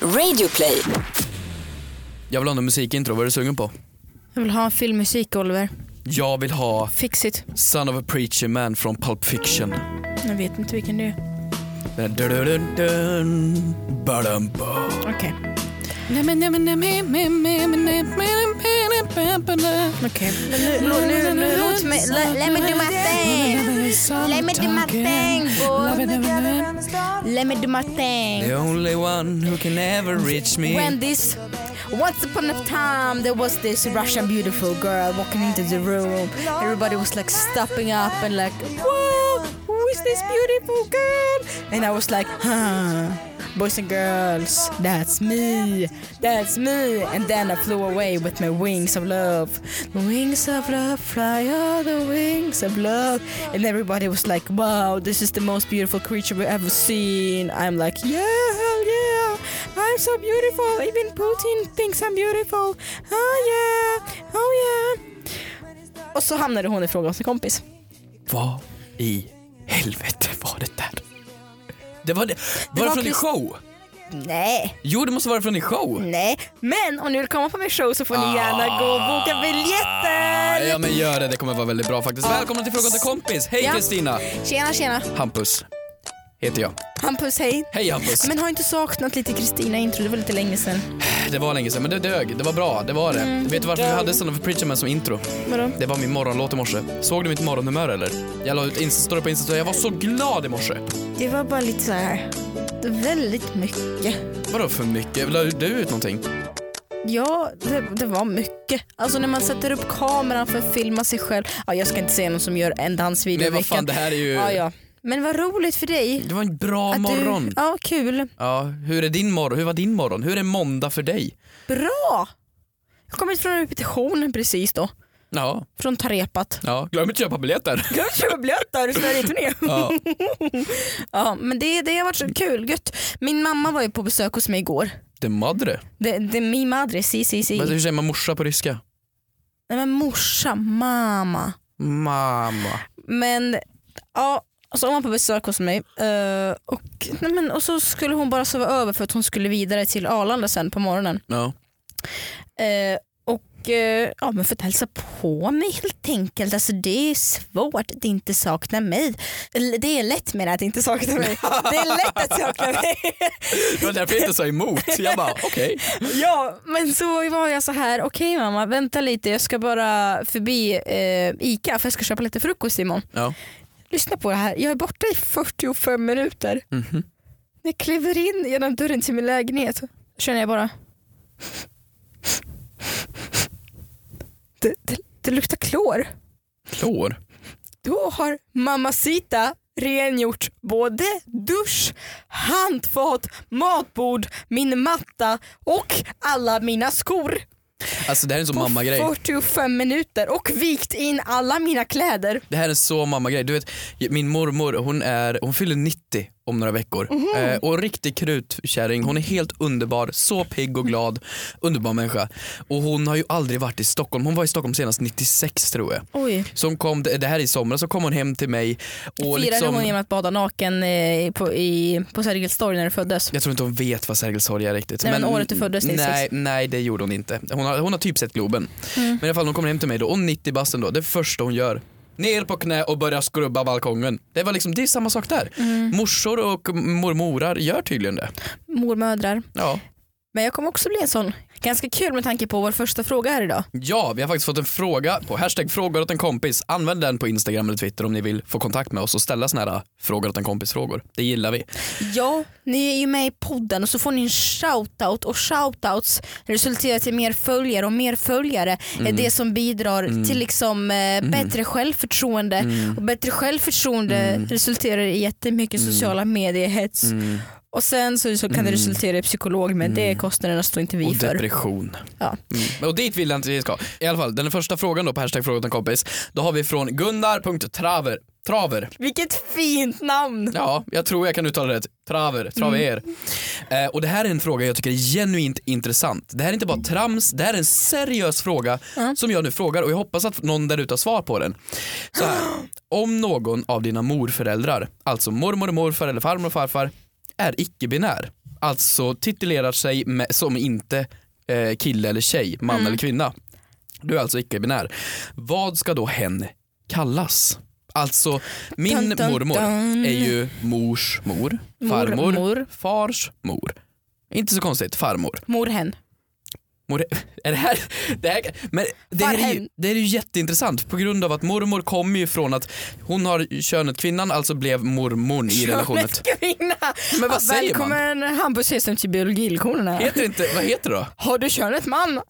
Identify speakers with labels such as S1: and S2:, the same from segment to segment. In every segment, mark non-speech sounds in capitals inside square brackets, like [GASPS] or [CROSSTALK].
S1: Radioplay.
S2: Jag vill ha någon musikintro, vad är du sugen på?
S3: Jag vill ha en filmmusik Oliver.
S2: Jag vill ha
S3: Fix it.
S2: Son of a Preacher Man från Pulp Fiction.
S3: Jag vet inte vilken det är.
S2: Den där dun-dun-dun, badum-ba.
S3: Okej. Okej.
S4: Nu, nu, nu, låt mig, le- let me do my thing. Let me do my thing, boy. Let me do my thing.
S2: The only one who can ever reach me.
S4: When this, once upon a time, there was this Russian beautiful girl walking into the room. Everybody was like stopping up and like, whoa, who is this beautiful girl? And I was like, huh, boys and girls, that's me, that's me. And then I flew away with my wings of love. The wings of love fly, are the wings of love. And everybody was like, wow, this is the most beautiful creature we've ever seen. I'm like, yeah, hell yeah. Ah, I'm so beautiful. Even Putin thinks I'm beautiful. Oh yeah, oh yeah. Och så hamnade hon ifrån oss en kompis.
S2: Vad i helvete var det där? Det var det, var det,
S4: var
S2: från din
S4: Chris-
S2: show?
S4: Nej,
S2: Jo det måste vara från din show.
S4: nej. Men om ni vill komma på min show så får ni gärna gå och
S2: Ah,
S4: boka biljetter.
S2: Ja men gör det, det kommer vara väldigt bra faktiskt. Välkomna till Frukost och kompis, hej
S4: Ja.
S2: Kristina!
S4: Tjena, tjena.
S2: Hampus heter jag.
S4: Hampus, hej.
S2: Hej Hampus!
S4: Men har inte saknat lite Kristina-intro? Det var lite länge sedan.
S2: Det var länge sedan men det dög, det var bra, det var det. Vet du varför vi hade Son of a Preacher Man som intro?
S4: Vadå?
S2: Det var min morgonlåt i morse. Såg du mitt morgonhumör eller? Jag la ut Insta-story på Insta, jag var så glad i morse.
S4: Det var bara lite så här. Det var väldigt mycket.
S2: Vadå för mycket? La du ut någonting?
S4: Ja, det, det var mycket. Alltså när man sätter upp kameran för att filma sig själv. Ja, jag ska inte säga någon som gör en dansvideo
S2: Men
S4: i
S2: vad fan det
S4: veckan.
S2: här är ju...
S4: Ja, ja. Men vad roligt för dig.
S2: Det var en bra
S4: att du-
S2: morgon.
S4: Ja, kul.
S2: Ja, hur är din morgon? Hur var din morgon? Hur är måndag för dig?
S4: Bra! Jag kom ut från repetitionen precis då.
S2: Ja,
S4: Från Tarepat.
S2: ja. glöm inte att köpa
S4: [LAUGHS]
S2: biljetter.
S4: Jag kör blötar i Sverige-turné.
S2: Ja.
S4: [LAUGHS] Ja, men det, det har varit så kul. Gött. Min mamma var ju på besök hos mig igår.
S2: Det madre.
S4: Det, det är min madre, si si si.
S2: Men Hur säger man morsa på ryska?
S4: Nej men morsa, mamma.
S2: Mamma.
S4: Men ja, så hon var på besök hos mig eh, och, nej men, och så skulle hon bara sova över för att hon skulle vidare till Arlanda sen på morgonen.
S2: Ja.
S4: Eh, och eh, ja, men fått hälsa på mig helt enkelt. Alltså, det är svårt att inte sakna mig. Eller, Det är lätt menar jag att inte sakna [LAUGHS] mig. Det är lätt att sakna mig.
S2: Det var därför jag inte sa emot. Jag bara okej.
S4: [LAUGHS] Ja, men så var jag så här. Okej mamma, vänta lite. Jag ska bara förbi eh, Ica för jag ska köpa lite frukost imorgon.
S2: Ja.
S4: Lyssna på det här, jag är borta i 45 minuter.
S2: Mhm.
S4: När jag kliver in genom dörren till min lägenhet känner jag bara... Det, det, det luktar klor.
S2: Klor.
S4: Då har Mamacita rengjort både dusch, handfat, matbord, min matta och alla mina skor.
S2: Alltså det här är en sån
S4: På
S2: mammagrej.
S4: 45 minuter och vikt in alla mina kläder.
S2: Det här är så mammagrej. Du vet, min mormor hon, är, hon fyller 90 om några veckor.
S4: Mhm.
S2: Eh, och en riktig krutkärring. Hon är helt underbar, så pigg och glad. Underbar människa. Och hon har ju aldrig varit i Stockholm. Hon var i Stockholm senast 96 tror jag.
S4: Oj.
S2: Så hon kom, det här är i somras, så kom hon hem till mig och
S4: Firade hon
S2: liksom,
S4: genom att bada naken eh, på, i, på Sergels torg när du föddes?
S2: jag tror inte hon vet vad Sergels torg är riktigt.
S4: Nej, men året du föddes, 96.
S2: nej, nej det gjorde hon inte. Hon har, hon har typ sett Globen.
S4: Mm.
S2: Men i alla fall hon kommer hem till mig då, och 90 basten då, det första hon gör Ner på knä och börja skrubba balkongen. Det, var liksom, det är samma sak där.
S4: Mm.
S2: Morsor och mormorar gör tydligen det.
S4: Mormödrar.
S2: Ja.
S4: Men jag kommer också bli en sån. Ganska kul med tanke på vår första fråga här idag.
S2: ja, vi har faktiskt fått en fråga på hashtag frågor åt en kompis. Använd den på Instagram eller Twitter om ni vill få kontakt med oss och ställa såna här frågor åt en kompis frågor. Det gillar vi.
S4: Ja, ni är ju med i podden och så får ni en shoutout och shoutouts resulterar i mer följare och mer följare är det som bidrar till liksom, eh, bättre självförtroende och bättre självförtroende resulterar i jättemycket sociala mediehets och sen så, så kan det resultera i psykolog men det kostnaderna står inte vi
S2: Och
S4: för.
S2: depression.
S4: Ja.
S2: Mm. Och dit vill jag inte vi ska. I alla fall, den första frågan då på hashtag fråga åt en kompis. Då har vi från Gunnar.traver. Traver.
S4: Vilket fint namn!
S2: Ja, jag tror jag kan uttala det rätt. Traver. Traver.
S4: Mm.
S2: Eh, och det här är en fråga jag tycker är genuint intressant. Det här är inte bara trams, det här är en seriös fråga som jag nu frågar och jag hoppas att någon där ute har svar på den. Så
S4: [GASPS]
S2: här, om någon av dina morföräldrar, alltså mormor och morfar eller farmor och farfar, är icke-binär, alltså titulerar sig med, som inte eh, kille eller tjej, man
S4: Mm.
S2: eller kvinna. Du är alltså icke-binär. Vad ska då hen kallas? Alltså min
S4: Dun, dun,
S2: mormor
S4: dun.
S2: är ju mors Mm. mor, farmor,
S4: Mormor.
S2: fars mor. Inte så konstigt, farmor.
S4: Morhen.
S2: Mor, [LAUGHS] är det här, det här, men det här, är ju,
S3: Farhen.
S2: det här är ju jätteintressant på grund av att mormor kommer ju från att hon har könet kvinnan, alltså blev mormon i relationen.
S4: Kvinna.
S2: Men vad säger man?
S4: Välkommen Hampus Hedström till biologilektionen här.
S2: Heter det inte, vad heter det då?
S4: Har du könet man?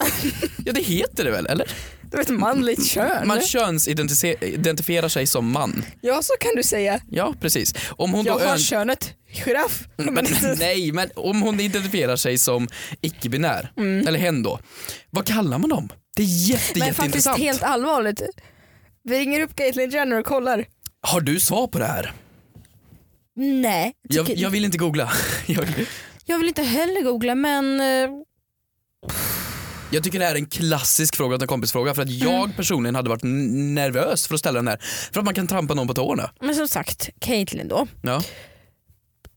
S2: Ja det heter det väl eller?
S4: Du vet manligt kön.
S2: Man könsidentifierar sig som man.
S4: Ja så kan du säga.
S2: Ja precis. Om hon
S4: Jag
S2: då
S4: har
S2: ön- Mm,
S4: könet giraff.
S2: men, [LAUGHS] nej men om hon identifierar sig som icke-binär, eller hen då. Vad kallar man dem? Det är jätte,
S4: Mm. Men faktiskt
S2: jätteintressant.
S4: helt allvarligt. Vi ringer upp Caitlyn Jenner och kollar.
S2: Har du svar på det här?
S3: Nej.
S2: Jag,
S3: tycker-
S2: jag vill inte googla. [LAUGHS] Jag,
S4: Jag vill inte heller googla men eh,
S2: jag tycker det här är en klassisk fråga, en kompisfråga för att
S4: Mm.
S2: jag personligen hade varit n- nervös för att ställa den här. För att man kan trampa någon på tårna.
S4: Men som sagt, Caitlyn då.
S2: Ja.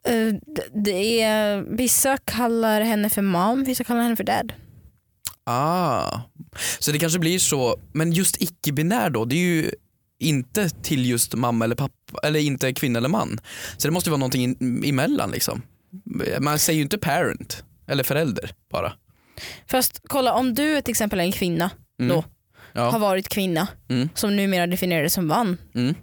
S4: Eh, d- Det är, vissa kallar henne för mom, vissa kallar henne för dad.
S2: Ah. Så det kanske blir så, men just icke-binär då, det är ju inte till just mamma eller pappa, eller inte kvinna eller man. Så det måste ju vara någonting in, emellan liksom. Man säger ju inte parent eller förälder bara.
S4: Fast kolla om du till exempel är en kvinna,
S2: Mm.
S4: Då.
S2: Ja.
S4: har varit kvinna,
S2: Mm.
S4: som numera definieras som man.
S2: Mm.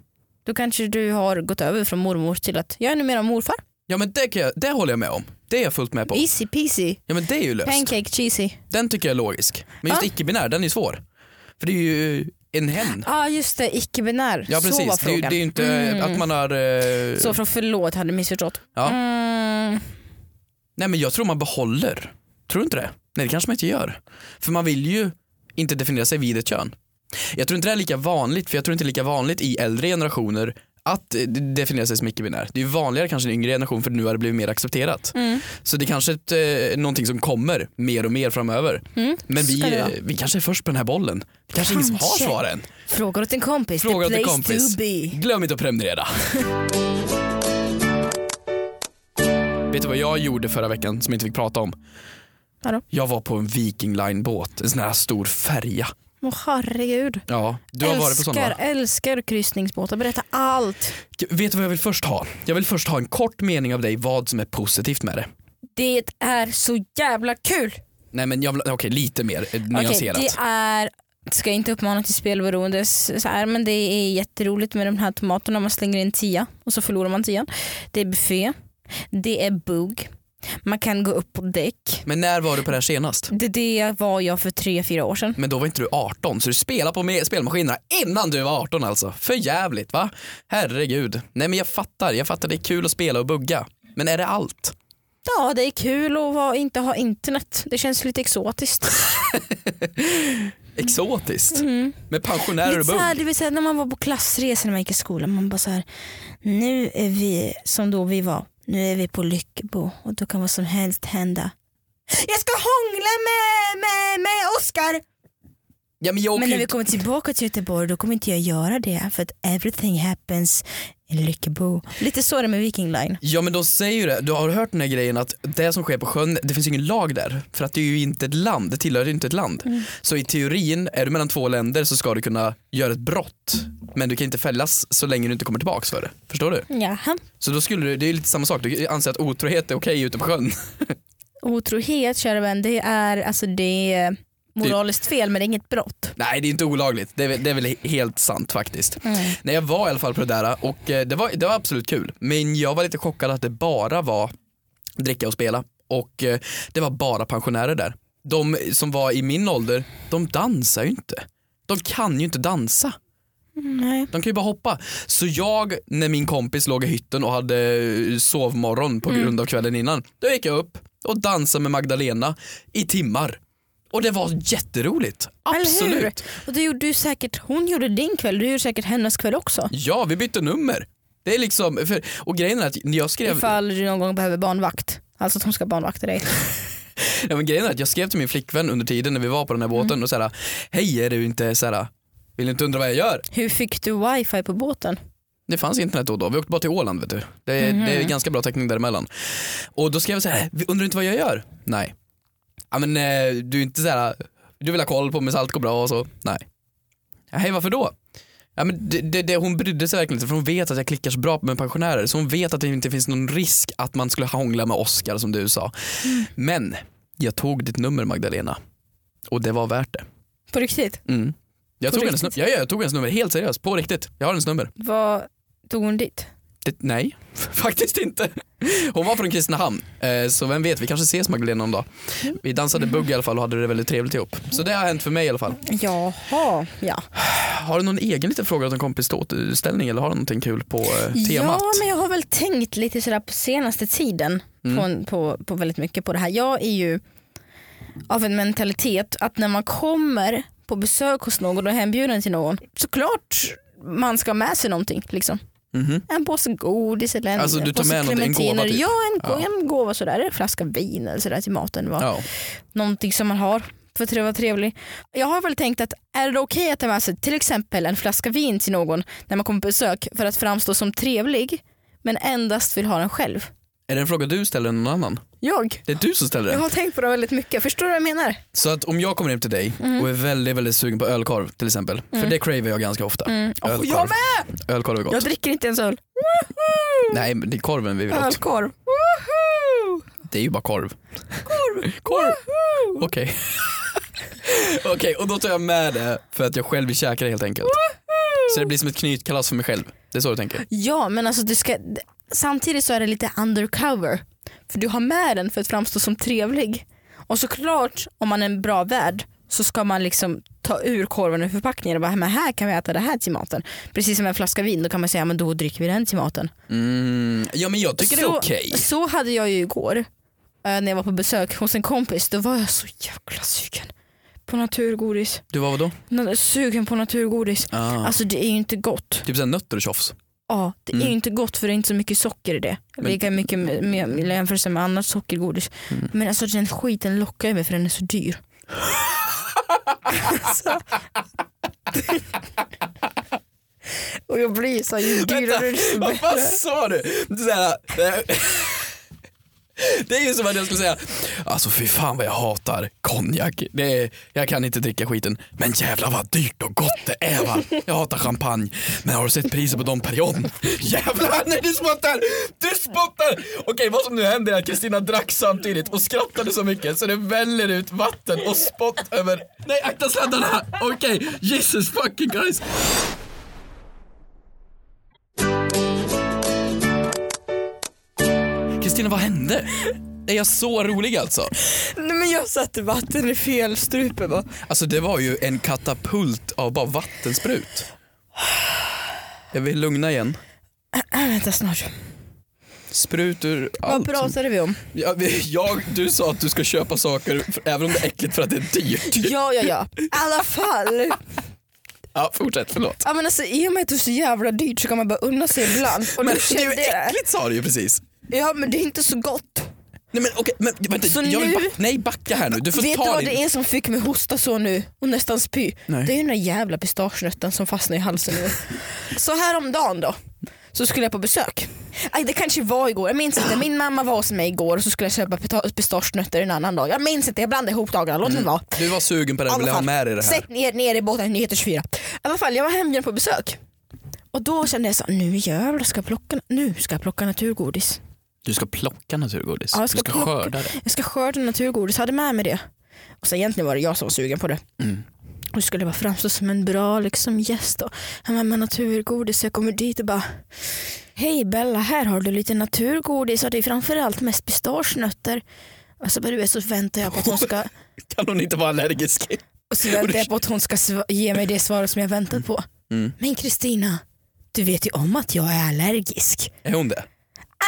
S4: Då kanske du har gått över från mormor till att jag är numera morfar.
S2: ja men det, kan jag, det håller jag med om. Det är jag fullt med på.
S4: Easy peasy,
S2: Ja men det är ju löst.
S4: pancake cheesy.
S2: Den tycker jag är logisk. Men just
S4: Ja.
S2: icke-binär, den är svår. För det är ju en hen.
S4: Ja ah, just det, icke-binär.
S2: Ja
S4: Så var
S2: precis, det är ju,
S4: frågan.
S2: det är ju inte
S4: Mm.
S2: att man har... eh,
S4: Så från förlåt, hade missförstått.
S2: Ja.
S4: Mm.
S2: Nej men jag tror man behåller. Tror du inte det? Nej det kanske man inte gör. För man vill ju inte definiera sig vid ett kön. Jag tror inte det är lika vanligt, för jag tror inte det är lika vanligt i äldre generationer att eh, de- definiera sig som icke-binär. Det är ju vanligare kanske i en yngre generation för nu har det blivit mer accepterat.
S4: Mm.
S2: Så det är kanske är eh, någonting som kommer mer och mer framöver.
S4: Mm.
S2: Men
S4: Så
S2: vi,
S4: ska det vara.
S2: eh, vi kanske är först på den här bollen. Det kanske är ingen som har
S4: Kanske.
S2: svaren.
S4: Frågar åt en kompis,
S2: Fråga åt
S4: the
S2: en
S4: place
S2: kompis.
S4: to be.
S2: Glöm inte att
S4: [LAUGHS]
S2: prenumerera. Vet du vad jag gjorde förra veckan som jag inte fick prata om?
S4: Vadå?
S2: Jag var på en Viking Line båt, en sån här stor färja.
S4: Åh herregud.
S2: Ja, du har varit på sån
S4: älskar,
S2: va?
S4: älskar kryssningsbåtar, berätta allt.
S2: Vet du vad jag vill först ha? Jag vill först ha en kort mening av dig vad som är positivt med det.
S4: Det är så jävla kul.
S2: Nej men jag vill, okej lite mer eh,
S4: Okej,
S2: nyanserat.
S4: det är, ska inte uppmana till spelberoende s- så här, men det är jätteroligt med de här tomaterna. Man slänger in tia och så förlorar man tian. Det är buffé, det är bugg, man kan gå upp på däck.
S2: Men när var du på det här senast?
S4: Det, det var jag för tre, fyra år sedan.
S2: Men då var inte du 18 så du spelade på me- spelmaskinerna innan du var 18 alltså. För jävligt va? Herregud. Nej men jag fattar, jag fattar det är kul att spela och bugga. Men är det allt?
S4: Ja, det är kul att vara, inte ha internet. Det känns lite exotiskt.
S2: Exotiskt. Med pensionärer
S4: Mm. Lite
S2: och
S4: så här,
S2: bugg.
S4: det vill säga när man var på klassresa när man gick i skolan, man bara så här, nu är vi som då vi var, nu är vi på Lyckebo och då kan vad som helst hända. Jag ska hångla med, med, med Oscar!
S2: Ja, men jag åker ju
S4: Men när vi
S2: inte-
S4: kommer tillbaka till Göteborg då kommer inte jag göra det för att everything happens in Lyckebo. Lite så är det med Viking Line.
S2: Ja men de säger ju det, du har hört den här grejen att det som sker på sjön, det finns ju ingen lag där. För att det är ju inte ett land, det tillhör ju inte ett land. Så i teorin, är du mellan två länder så ska du kunna göra ett brott. Men du kan inte fällas så länge du inte kommer tillbaks för det. Förstår du?
S4: Jaha.
S2: Så då skulle du, det är ju lite samma sak, du anser att otrohet är okej ute på sjön.
S4: Otrohet kära vän, det är alltså det är moraliskt fel men det är inget brott.
S2: Nej det är inte olagligt, det är, väl- det är väl helt sant faktiskt.
S4: Mm.
S2: Nej jag var i alla fall på det där och eh, det var, det var absolut kul. Men jag var lite chockad att det bara var dricka och spela och eh, det var bara pensionärer där. De som var i min ålder, de dansar ju inte. De kan ju inte dansa.
S4: Nej.
S2: De kan ju bara hoppa. Så jag, när min kompis låg i hytten och hade eh, sovmorgon
S4: Mm.
S2: på grund av kvällen innan, då gick jag upp och dansade med Magdalena i timmar. Och det var jätteroligt.
S4: Eller hur?
S2: Absolut.
S4: Och det gjorde du säkert, hon gjorde din kväll, du gjorde säkert hennes kväll också.
S2: Ja, vi bytte nummer. Det är liksom, för, och grejen är att när jag skrev,
S4: Ifall du någon gång behöver barnvakt. Alltså att hon ska barnvakta dig.
S2: ja, men grejen är att jag skrev till min flickvän under tiden när vi var på den här båten och såhär, hej är du inte såhär, vill du inte undra vad jag gör?
S4: Hur fick du wifi på båten?
S2: Det fanns internet då, då. Vi åkte bara till Åland vet du. Det är, det är ganska bra täckning däremellan. Och då skrev jag så här, undrar du inte vad jag gör? Nej. Ja men eh, du är inte så här, du vill ha koll på om allt går bra och så? Nej. Ja, hej varför då? Ja, men det, det, det, hon brydde sig verkligen inte för hon vet att jag klickar så bra med pensionärer så hon vet att det inte finns någon risk att man skulle hångla med Oscar som du sa. Men jag tog ditt nummer Magdalena och det var värt det.
S4: På riktigt?
S2: Mm. Jag,
S4: På
S2: tog hennes,
S4: riktigt?
S2: num- ja, ja, jag tog hennes nummer helt seriöst, på riktigt. Jag har hennes nummer.
S4: Vad tog hon dit?
S2: Det, nej, [LAUGHS] faktiskt inte. Hon var från Kristinehamn, eh, så vem vet, vi kanske ses Magdalena någon dag. Vi dansade bugg i alla fall och hade det väldigt trevligt ihop. Så det har hänt för mig i alla fall.
S3: Jaha, ja.
S2: Har du någon egen liten fråga åt en kompis till återställning eller har du någonting kul på eh, temat?
S4: Ja men jag har väl tänkt lite sådär på senaste tiden
S2: Mm.
S4: på, på, på väldigt mycket på det här. Jag är ju av en mentalitet att när man kommer på besök hos någon och är hembjuden till någon såklart man ska ha med sig någonting. Liksom.
S2: Mhm.
S4: En påse godis eller en,
S2: Alltså, du
S4: en
S2: tar
S4: påse
S2: med någonting, en gåva
S4: clementiner.
S2: typ?
S4: Ja en, gå- en gåva sådär, en flaska vin eller sådär till maten. Va?
S2: Ja.
S4: Någonting som man har för att vara trevlig. Jag har väl tänkt att är det okej att ta med sig till exempel en flaska vin till någon när man kommer på besök för att framstå som trevlig men endast vill ha den själv?
S2: Är det en fråga du ställer eller någon annan?
S4: Jag?
S2: Det är du som ställer
S4: Jag
S2: den.
S4: har tänkt på det väldigt mycket, förstår du vad jag menar?
S2: Så att om jag kommer hem till dig
S4: Mm.
S2: och är väldigt, väldigt sugen på ölkorv till exempel, för det cravar jag ganska ofta.
S4: Oh,
S2: Ölkorv.
S4: jag med!
S2: Ölkorv är gott.
S4: Jag dricker inte ens öl.
S2: Nej men det är korven vi vill åt.
S4: Ölkorv. Woho!
S2: Det är ju bara korv. Korv! korv. Okej. [LAUGHS] Okej, och då tar jag med det för att jag själv vill käka det helt enkelt. Så det blir som ett knytkalas för mig själv. Det är så du tänker?
S4: Ja men alltså du ska, samtidigt så är det lite undercover. För du har med den för att framstå som trevlig. Och såklart om man är en bra värd så ska man liksom ta ur korven ur förpackningen och bara men här kan vi äta det här till maten. Precis som en flaska vin då kan man säga men då dricker vi den till maten.
S2: Mm, ja men jag tycker det är
S4: Så-
S2: okej.
S4: Så hade jag ju igår eh, när jag var på besök hos en kompis då var jag så jävla sugen på naturgodis.
S2: Du var vadå?
S4: Na- Sugen på naturgodis.
S2: Ah.
S4: Alltså det är ju inte gott.
S2: typ såhär nötter och tjofs.
S4: Ja, det är ju inte gott för det är inte så mycket socker i det.
S2: Mm. Men-
S4: Lika mycket med, med, i jämförelse med annat sockergodis.
S2: Mm.
S4: Men alltså den skiten lockar ju mig för den är
S2: [LAUGHS]
S4: så dyr. alltså. Och jag blir så här, ju dyrare
S2: [LAUGHS]
S4: desto
S2: Vad
S4: bättre.
S2: sa du? Det är [LAUGHS] så här, eh, Det är ju som att jag skulle säga, alltså fy fan vad jag hatar konjak. Det är, jag kan inte dricka skiten, men jävlar vad dyrt och gott det är va. Jag hatar champagne, men har du sett priset på Dom Perignon? [LAUGHS] Jävlar, nej du spottar! Du spottar! Okej, vad som nu händer är att Kristina drack samtidigt och skrattade så mycket så det väller ut vatten och spott över... Nej, akta sladdarna! Okej, Jesus fucking guys. Kristina, vad hände? Är jag så rolig alltså?
S3: Nej, men jag satte vatten i fel strupe bara.
S2: Alltså det var ju en katapult av bara vattensprut. Jag vill lugna igen.
S4: Äh, vänta snart.
S2: Sprut ur
S4: Vad
S2: allt. som-
S4: pratade vi om?
S2: Ja, vi- jag, du sa att du ska köpa saker för, även om det är äckligt för att det är dyrt.
S4: Ja, ja, ja. I alla fall.
S2: Ja, fortsätt, förlåt.
S4: Ja, men alltså, I och med att det är så jävla dyrt så kan man bara unna sig ibland. Och
S2: Men
S4: nu
S2: det är ju
S4: kände jag det.
S2: äckligt sa du ju precis.
S4: Ja men det är inte så gott.
S2: Nej men okej, men vänta,
S4: Så
S2: jag vill
S4: nu-
S2: ba- nej backa här nu. Du får
S4: Vet du
S2: ta
S4: vad
S2: din...
S4: det är som fick mig hosta så nu och nästan spy?
S2: Nej.
S4: Det är ju den där jävla pistagenötten som fastnar i
S2: [LAUGHS]
S4: halsen nu. så häromdagen då, så skulle jag på besök. Aj, det kanske var igår, jag minns inte. Min mamma var hos mig igår och så skulle jag köpa pita- pistagenötter en annan dag. Jag minns inte, jag blandade ihop dagarna. Låt mig vara.
S2: Du var sugen på det,
S4: I
S2: här,
S4: alla
S2: ville Mm. ha
S4: fall,
S2: med dig det här.
S4: Sätt ner, ner i båten, nyheter 24. I alla fall, jag var hembjuden på besök. Och då kände jag så, nu jävlar ska jag plocka, nu ska jag plocka naturgodis.
S2: Du ska plocka naturgodis.
S4: Ja, jag
S2: du
S4: ska
S2: ska
S4: plocka-
S2: skörda det.
S4: Jag ska skörda naturgodis, hade med mig det. Och så egentligen var det jag som var sugen på det.
S2: Mm.
S4: Och skulle bara framstå som en bra liksom, gäst. Och han var med naturgodis. Jag kommer dit och bara Hej Bella, här har du lite naturgodis och det är framförallt mest pistagenötter. Och så, bara, du vet, så väntar jag på att
S2: [LAUGHS]
S4: hon ska,
S2: Kan hon inte vara allergisk?
S4: och så väntar jag på att hon ska sva- ge mig det svaret som jag väntat på.
S2: Mm.
S4: Men Kristina, du vet ju om att jag är allergisk.
S2: Är hon det?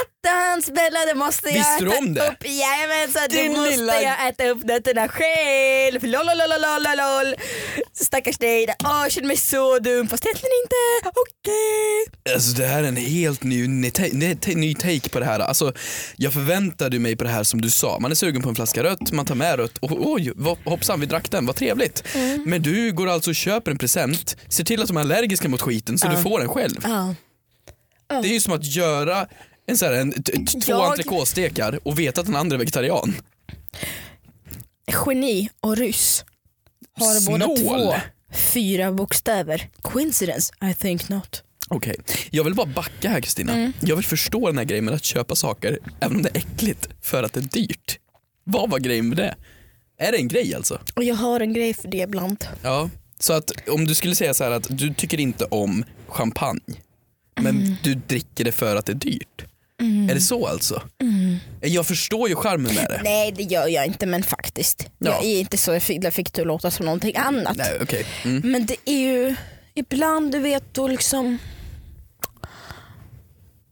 S4: Attans Bella, det måste jag
S2: Visste du
S4: äta
S2: om det?
S4: upp. Jajamensan, det
S2: Din
S4: måste
S2: lilla-
S4: jag äta upp nötterna själv. Lololololololol. Stackars dig. där. Åh, jag känner mig så dum, fast egentligen inte. Okej.
S2: Alltså det här är en helt ny, ny, ta- ny, ta- ny take på det här. Alltså, jag förväntade mig på det här som du sa. Man är sugen på en flaska rött, man tar med rött och oj vad, hoppsan vi drack den, vad trevligt.
S4: Mm.
S2: Men du går alltså och köper en present, ser till att de är allergiska mot skiten så du får den själv.
S4: Ja.
S2: Det är ju som att göra en så här, en, t- t- två
S4: Jag-
S2: entrecôtestekar och veta att den andra är vegetarian.
S4: Geni och ryss har båda
S2: Snål.
S4: två fyra bokstäver. Coincidence? I think not.
S2: Okej, jag vill bara backa här Kristina. Jag vill förstå den här grejen med att köpa saker även om det är äckligt för att det är dyrt. Vad var grejen med det? Är det en grej alltså?
S4: Och jag har en grej för det ibland.
S2: Ja. Så att om du skulle säga så här att du tycker inte om champagne men du dricker det för att det är dyrt. Är det så alltså? Jag förstår ju charmen med det.
S4: Nej det gör jag inte men faktiskt.
S2: Ja.
S4: Jag är inte så jag fick, jag fick det att låta som någonting annat.
S2: Nej, okej. Mm.
S4: Men det är ju ibland du vet då liksom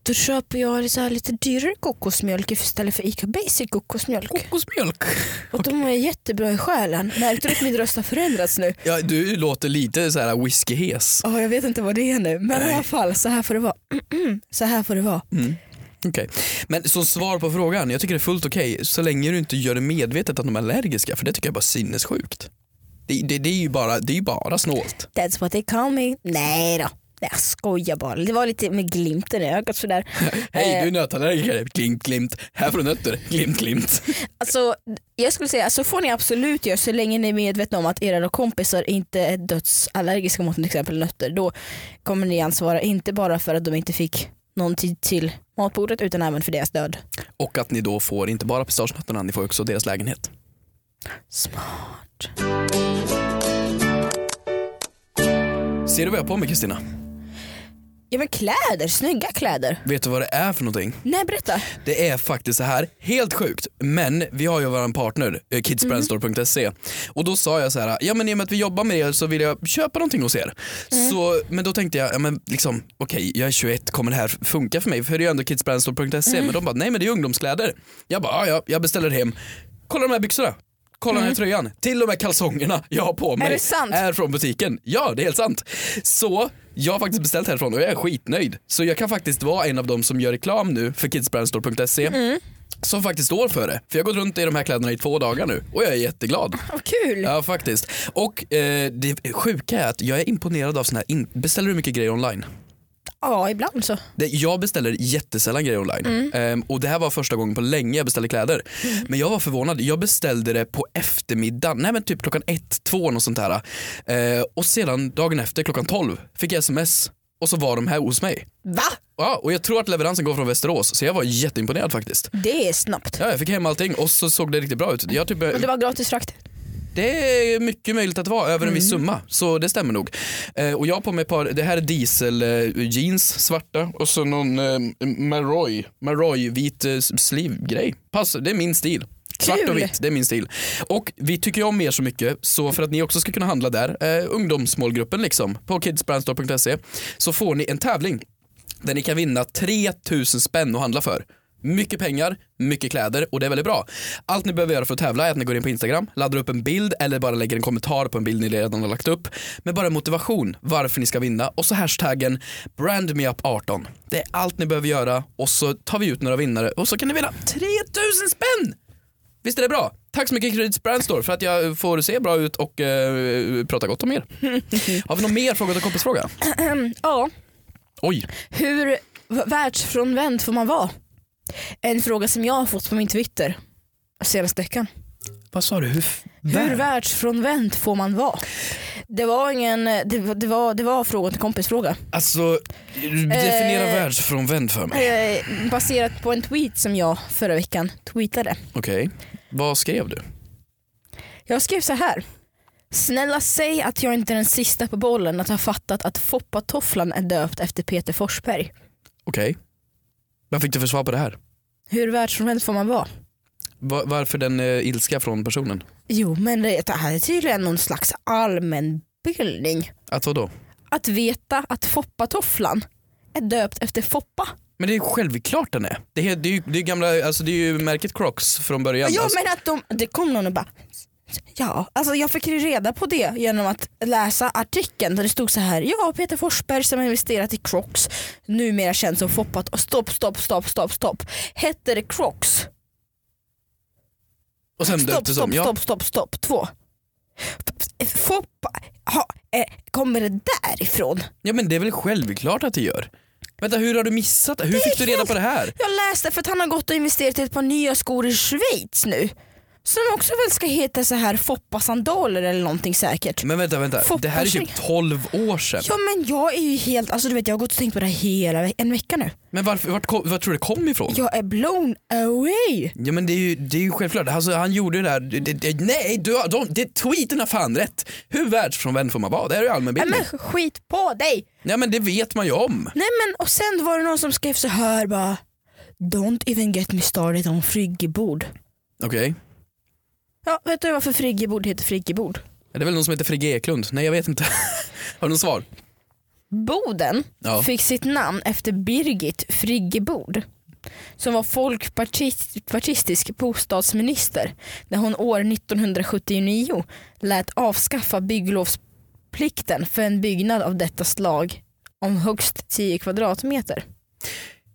S4: då köper jag så här lite dyrare kokosmjölk istället för ICA Basic kokosmjölk.
S2: Oh, Kokosmjölk.
S4: Och de är jättebra i själen. Märkte du att min röst har förändrats nu?
S2: Ja, du låter lite så här whiskyhes.
S4: Ja, jag vet inte vad det är nu. Men i alla fall, så här får det vara. så här får det vara.
S2: Mm. Okej. Men som svar på frågan, jag tycker det är fullt okej så länge du inte gör det medvetet att de är allergiska för det tycker jag är bara sinnessjukt. Det, det, det är ju bara, det är ju bara snålt.
S4: That's what they call me. Nej då. Nej, jag skojar bara. Det var lite med glimten i ögat sådär.
S2: [LAUGHS] Hej
S4: Eh,
S2: du är nötallergiker, glimt glimt. Här får du nötter, glimt glimt.
S4: Alltså, jag skulle säga så får ni absolut göra så länge ni är medvetna om att era kompisar inte är dödsallergiska mot till exempel nötter. Då kommer ni ansvara inte bara för att de inte fick någon tid till matbordet utan även för deras död.
S2: Och att ni då får inte bara pistagenötterna, ni får också deras lägenhet.
S4: Smart.
S2: Ser du vad jag har på mig Kristina?
S4: Ja men kläder, snygga kläder.
S2: Vet du vad det är för någonting?
S4: Nej berätta.
S2: Det är faktiskt så här, helt sjukt, men vi har ju vår partner eh, kidsbrandstore.se och då sa jag så här, ja men i och med att vi jobbar med er så vill jag köpa någonting hos er. Så, men då tänkte jag, ja men liksom okej jag är 21, kommer det här funka för mig? För det är ju ändå kidsbrandstore.se men de bara, nej men det är ungdomskläder. Jag bara, ja ja, jag beställer hem. Kolla de här byxorna. Kolla den här tröjan, till och med kalsongerna jag har på mig
S4: Mm. det sant?
S2: är från butiken. Ja, det är helt sant. Så jag har faktiskt beställt härifrån och jag är skitnöjd. Så jag kan faktiskt vara en av dem som gör reklam nu för kidsbrandstore.se.
S4: Mm.
S2: Som faktiskt står för det. För jag har gått runt i de här kläderna i två dagar nu och jag är jätteglad.
S4: Vad kul.
S2: Ja faktiskt. Och eh, det sjuka är att jag är imponerad av sådana här, in- beställer du mycket grejer online?
S4: Ja ibland så.
S2: Det, jag beställer jättesällan grejer online.
S4: Mm.
S2: Ehm, och det här var första gången på länge jag beställde kläder. Men jag var förvånad. Jag beställde det på eftermiddagen, nej men typ klockan ett, två något sånt här. Ehm, och sedan dagen efter klockan tolv fick jag sms och så var de här hos mig.
S4: Va?
S2: Ja, och jag tror att leveransen går från Västerås så jag var jätteimponerad faktiskt.
S4: Det är snabbt.
S2: Ja, jag fick hem allting och så såg det riktigt bra ut. Jag typ,
S4: Och det var gratis frakt.
S2: det är mycket möjligt att vara över en viss summa, så det stämmer nog. Eh, och jag har på mig ett par, det här är diesel eh, jeans, svarta och så någon eh, Maroy, Maroy vit eh, sleeve-grej. Pass, det är min stil. Svart
S4: Kul!
S2: och vitt, det är min stil. Och vi tycker ju om er så mycket, så för att ni också ska kunna handla där, eh, ungdomsmålgruppen liksom, på kidsbrandstore.se, så får ni en tävling där ni kan vinna 3000 spänn att handla för. Mycket pengar, mycket kläder och det är väldigt bra. Allt ni behöver göra för att tävla är att ni går in på Instagram, laddar upp en bild eller bara lägger en kommentar på en bild ni redan har lagt upp med bara motivation varför ni ska vinna och så hashtaggen brandmeup18. Det är allt ni behöver göra och så tar vi ut några vinnare och så kan ni vinna 3000 spänn! Visst är det bra? Tack så mycket Credits Brandstore för att jag får se bra ut och eh, prata gott om er. Har vi någon mer fråga till kompisfråga?
S4: Ehm, Ja.
S2: Oj,
S4: Hur v- världsfrånvänd får man vara? En fråga som jag har fått på min Twitter senaste veckan.
S2: vad sa du? Hur, f-
S4: Hur världsfrånvänd får man vara? Det var ingen, det, var- det, var, det var frågan till kompis fråga.
S2: Alltså, definiera
S4: Eh,
S2: världsfrånvänd för mig.
S4: Eh, baserat på en tweet som jag förra veckan tweetade.
S2: Okej, vad skrev du?
S4: Jag skrev så här. Snälla säg att jag inte är den sista på bollen att ha fattat att Foppatofflan är döpt efter Peter Forsberg.
S2: Okej. Vad fick du för svar på det här?
S4: Hur världsfrånvänd får man vara?
S2: Va- varför den eh, ilska från personen?
S4: Jo men det det här är tydligen någon slags allmänbildning.
S2: Att vadå?
S4: Att veta att Foppatofflan är döpt efter Foppa.
S2: Men det är självklart den är. Det är, det är, ju, det är, gamla, alltså det är ju märket Crocs från början.
S4: Ja
S2: alltså,
S4: men att de, det kom någon och bara Ja, alltså jag fick ju reda på det genom att läsa artikeln där det stod så här. Ja, Peter Forsberg som har investerat i Crocs, numera känd som Foppat och stopp, stopp, stopp, stopp, stopp. Hette det Crocs?
S2: och sen
S4: Stopp,
S2: döptes
S4: stopp,
S2: de. Ja.
S4: stopp, stopp, stopp, två. F- Foppa, ha, eh, kommer det därifrån?
S2: ja men det är väl självklart att det gör. Vänta hur har du missat det? Hur fick du reda på det här?
S4: Jag läste för att han har gått och investerat i ett par nya skor i Schweiz nu. Som också väl ska heta så här Foppa-sandaler eller någonting säkert.
S2: Men vänta, vänta. Det här är typ 12 år sedan.
S4: Ja men jag är ju helt, alltså du vet jag har gått och tänkt på det här hela ve- en vecka nu.
S2: Men varför, vart, kom, vart tror du det kom ifrån? Ja,
S4: Jag är blown away.
S2: men det är ju, det är ju självklart, alltså, han gjorde ju det här, det, det, det, nej du, har- de, det, tweeten har fan rätt. Hur världsfrånvänd får man vara? Det här är ju
S4: Nej
S2: allmänbildning.
S4: men skit på dig.
S2: Ja men det vet man ju om.
S4: Nej men och sen var det någon som skrev så här bara Don't even get me started on friggebord.
S2: Okej.
S4: Ja vet du varför friggebord heter friggebord?
S2: Är Det är väl någon som heter Frigge Eklund? Nej jag vet inte. [LAUGHS] har du något svar?
S4: Boden
S2: Ja.
S4: fick sitt namn efter Birgit Friggebod som var folkpartistisk bostadsminister när hon år 1979 lät avskaffa bygglovsplikten för en byggnad av detta slag om högst 10 kvadratmeter.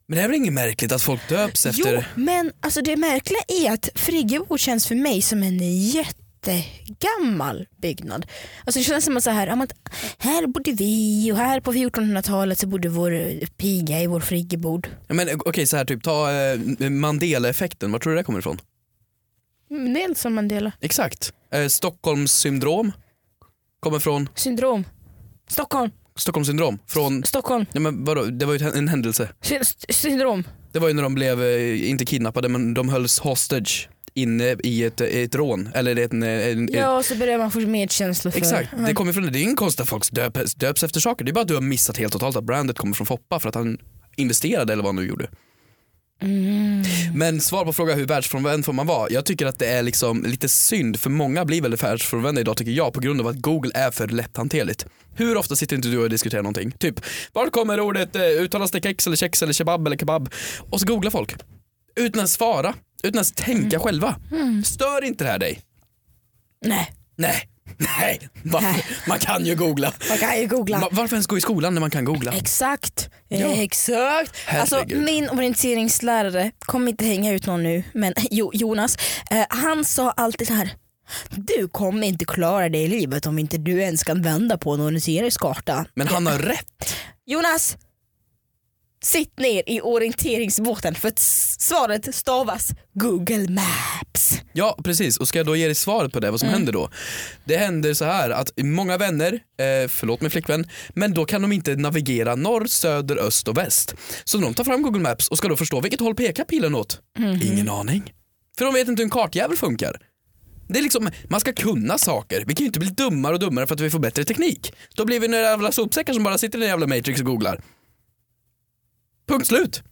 S2: Men det här är väl inget märkligt att folk döps efter...
S4: Jo, men alltså det märkliga är att Friggebod känns för mig som en jättegammal byggnad. Alltså det känns som att så här, ja, men här bodde vi och här på 1400-talet så bodde vår piga i vår friggebod.
S2: Ja, men okej så här typ, ta eh, Mandela-effekten, var tror du det kommer ifrån?
S4: Mm, Det är Nelson Mandela.
S2: Exakt. Eh, Stockholms syndrom kommer från
S4: Syndrom. Stockholm.
S2: Stockholms syndrom från
S4: Stockholm.
S2: Ja, men vadå? Det var ju en händelse.
S4: Sy- s- syndrom.
S2: Det var ju när de blev, eh, inte kidnappade men de hölls hostage inne i ett, ett rån. Eller ett, en, en, ett,
S4: Ja, så börjar man få medkänsla för.
S2: exakt, det kommer från det. Det är ingen konst att folk döps, döps efter saker. Det är bara att du har missat helt totalt att brandet kommer från Foppa för att han investerade eller vad han nu gjorde.
S4: Mm.
S2: Men svar på frågan hur världsfrånvänd får man vara? Jag tycker att det är liksom lite synd för många blir väl världsfrånvända idag tycker jag på grund av att Google är för lätthanterligt. Hur ofta sitter inte du och diskuterar någonting? Typ, var kommer ordet, eh, uttalas det kex eller kex eller kebab eller kebab? Och så googlar folk. Utan att svara, utan att tänka själva. Stör inte det här dig?
S4: Nej,
S2: Nej, nej, varför? man kan ju googla.
S4: man kan ju googla.
S2: Ma- Varför ens gå i skolan när man kan googla?
S4: Exakt. Eh,
S2: Ja.
S4: Exakt. Alltså,
S2: Herregud.
S4: min orienteringslärare, kommer inte hänga ut någon nu, men [LAUGHS] jo, Jonas, eh, han sa alltid så här. Du kommer inte klara dig i livet om inte du ens kan vända på en orienteringskarta.
S2: Men han har rätt.
S4: Jonas! Sitt ner i orienteringsbåten för att s- svaret stavas Google Maps.
S2: Ja precis, och ska jag då ge dig svaret på det, vad som händer då? Det händer så här att många vänner, eh, förlåt min flickvän, men då kan de inte navigera norr, söder, öst och väst. Så de tar fram Google Maps och ska då förstå vilket håll pekar pilen åt? Ingen aning. För de vet inte hur en kartjävel funkar. Det är liksom, man ska kunna saker, vi kan ju inte bli dummare och dummare för att vi får bättre teknik. Då blir vi några jävla sopsäckar som bara sitter i den jävla matrix och googlar. Punkt slut.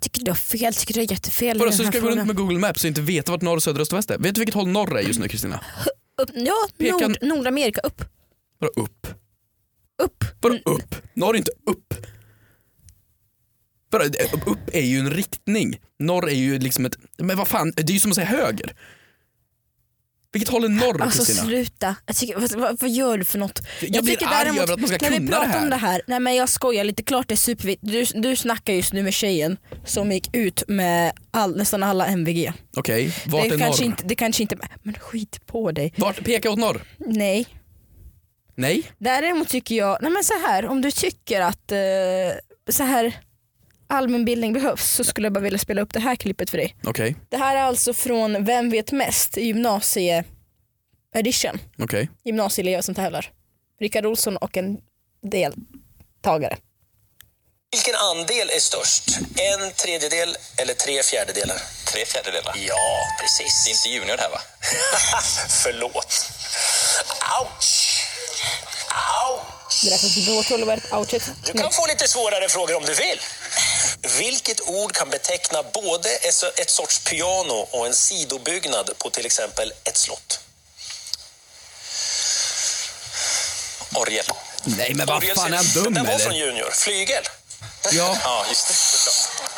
S4: Tycker du har fel, tycker du har jättefel i
S2: Vadå,
S4: den
S2: så du
S4: här
S2: ska gå runt
S4: frågan.
S2: med Google Maps och inte veta vart norr, söder, öst och väst är? Vet du vilket håll norr är just nu Kristina?
S4: Upp, ja,
S2: Peka-
S4: Nord, Nordamerika, upp.
S2: Vadå upp?
S4: Upp.
S2: Vadå upp? Norr är inte upp. Vadå, det- upp är ju en riktning. Norr är ju liksom ett, men vad fan, det är ju som att säga höger. Vilket håll är norr
S4: Alltså
S2: Kristina?
S4: sluta, jag tycker, vad, vad, vad gör du för något?
S2: Jag blir
S4: tycker
S2: arg över att man ska
S4: när vi
S2: kunna
S4: pratar
S2: det här.
S4: om det här, nej men jag skojar lite, klart det är supervitt. Du, du snackar just nu med tjejen som gick ut med all, nästan alla MVG.
S2: Okej, vart
S4: det
S2: är norr?
S4: kanske inte, det kanske inte, men skit på dig.
S2: Vart, peka åt norr.
S4: Nej.
S2: Nej,
S4: Däremot tycker jag, nej men så här, om du tycker att eh, så här allmänbildning behövs så skulle jag bara vilja spela upp det här klippet för dig.
S2: okej,
S4: Det här är alltså från Vem vet mest gymnasie edition.
S2: okej.
S4: gymnasieelever som tävlar. Rickard Olsson och en deltagare.
S5: Vilken andel är störst? En tredjedel eller tre fjärdedelar?
S6: Tre fjärdedelar.
S5: Ja, precis.
S6: Det är inte junior det här va?
S5: [LAUGHS] Förlåt. Ouch! Au!
S4: Det räknas till blå tolvverk, outfit.
S5: Du kan få lite svårare frågor om du vill. Vilket ord kan beteckna både ett ett sorts piano och en sidobyggnad på till exempel ett slott?
S6: Orgel.
S2: Nej men vad
S5: Orgel-
S2: fan är han dum
S5: Den var från
S2: eller?
S5: Junior. Flygel.
S2: Ja,
S6: Ja, just det. Såklart.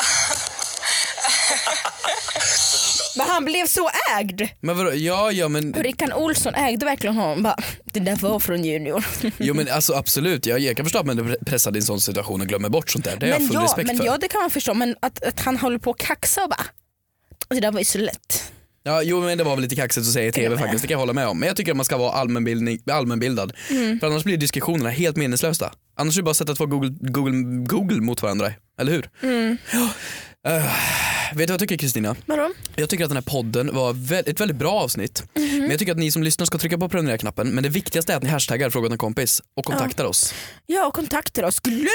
S4: Men han blev så ägd!
S2: men vadå, ja ja men,
S4: Rickard Olsson ägde verkligen honom. Bara, det där var från Junior.
S2: jo, men alltså absolut, jag, jag kan förstå att man är pressad i en sån situation och glömmer bort sånt där. Det har jag
S4: men
S2: full
S4: ja,
S2: respekt
S4: men
S2: för.
S4: ja, det kan man förstå. Men att, att han håller på och kaxar och bara, det där var ju så lätt.
S2: Ja, jo men det var väl lite kaxigt att säga i tv
S4: Jag med.
S2: faktiskt, det
S4: Mm.
S2: kan jag hålla med om. Men jag tycker att man ska vara allmänbildning, allmänbildad. För annars blir diskussionerna helt meningslösa. Annars är det bara att sätta två Google, Google, Google mot varandra, eller hur?
S4: Mm.
S2: Ja. [GASPS] Eh, vet du vad jag tycker Kristina?
S4: Vadå?
S2: Jag tycker att den här podden var vä- ett väldigt bra avsnitt.
S4: Mhm.
S2: Men jag tycker att ni som lyssnar ska trycka på prenumerera-knappen. Men det viktigaste är att ni hashtaggar frågan en kompis och kontaktar oss.
S4: Ja, och kontakter oss. Glöm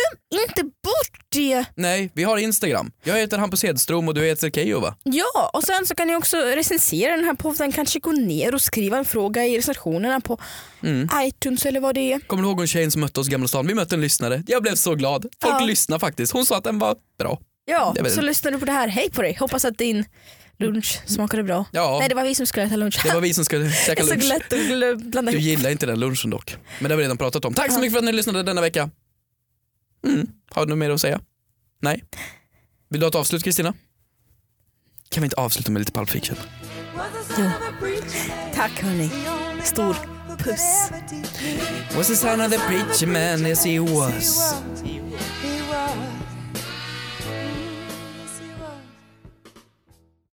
S4: inte bort det!
S2: Nej, vi har Instagram. Jag heter Hampus Hedström och du heter Keyyo va?
S4: Ja, och sen så kan ni också recensera den här podden. Kanske gå ner och skriva en fråga i recensionerna på
S2: Mm.
S4: iTunes eller vad det är.
S2: Kommer du ihåg hon tjejen som mötte oss i Gamla stan? Vi mötte en lyssnare. Jag blev så glad. Folk
S4: Ja.
S2: lyssnar faktiskt. Hon sa att den var bra.
S4: Ja,
S2: Det är väl-
S4: så lyssnar du på det här. Hej på dig! Hoppas att din lunch smakade bra.
S2: Ja.
S4: Nej, det var vi som skulle äta lunch. [LAUGHS]
S2: Det var vi som skulle
S4: det
S2: käka
S4: är så
S2: lunch.
S4: lätt att glö- blanda
S2: Du
S4: ihop.
S2: gillar inte den lunchen dock. Men det har vi redan pratat om. Tack så mycket för att ni lyssnade denna vecka. Mm. Har du något mer att säga? Nej? Vill du ha ett avslut Kristina? Kan vi inte avsluta med lite Pulp Fiction?
S4: Tack hörni. Stor puss.
S2: Was the son of the preacher man as he was.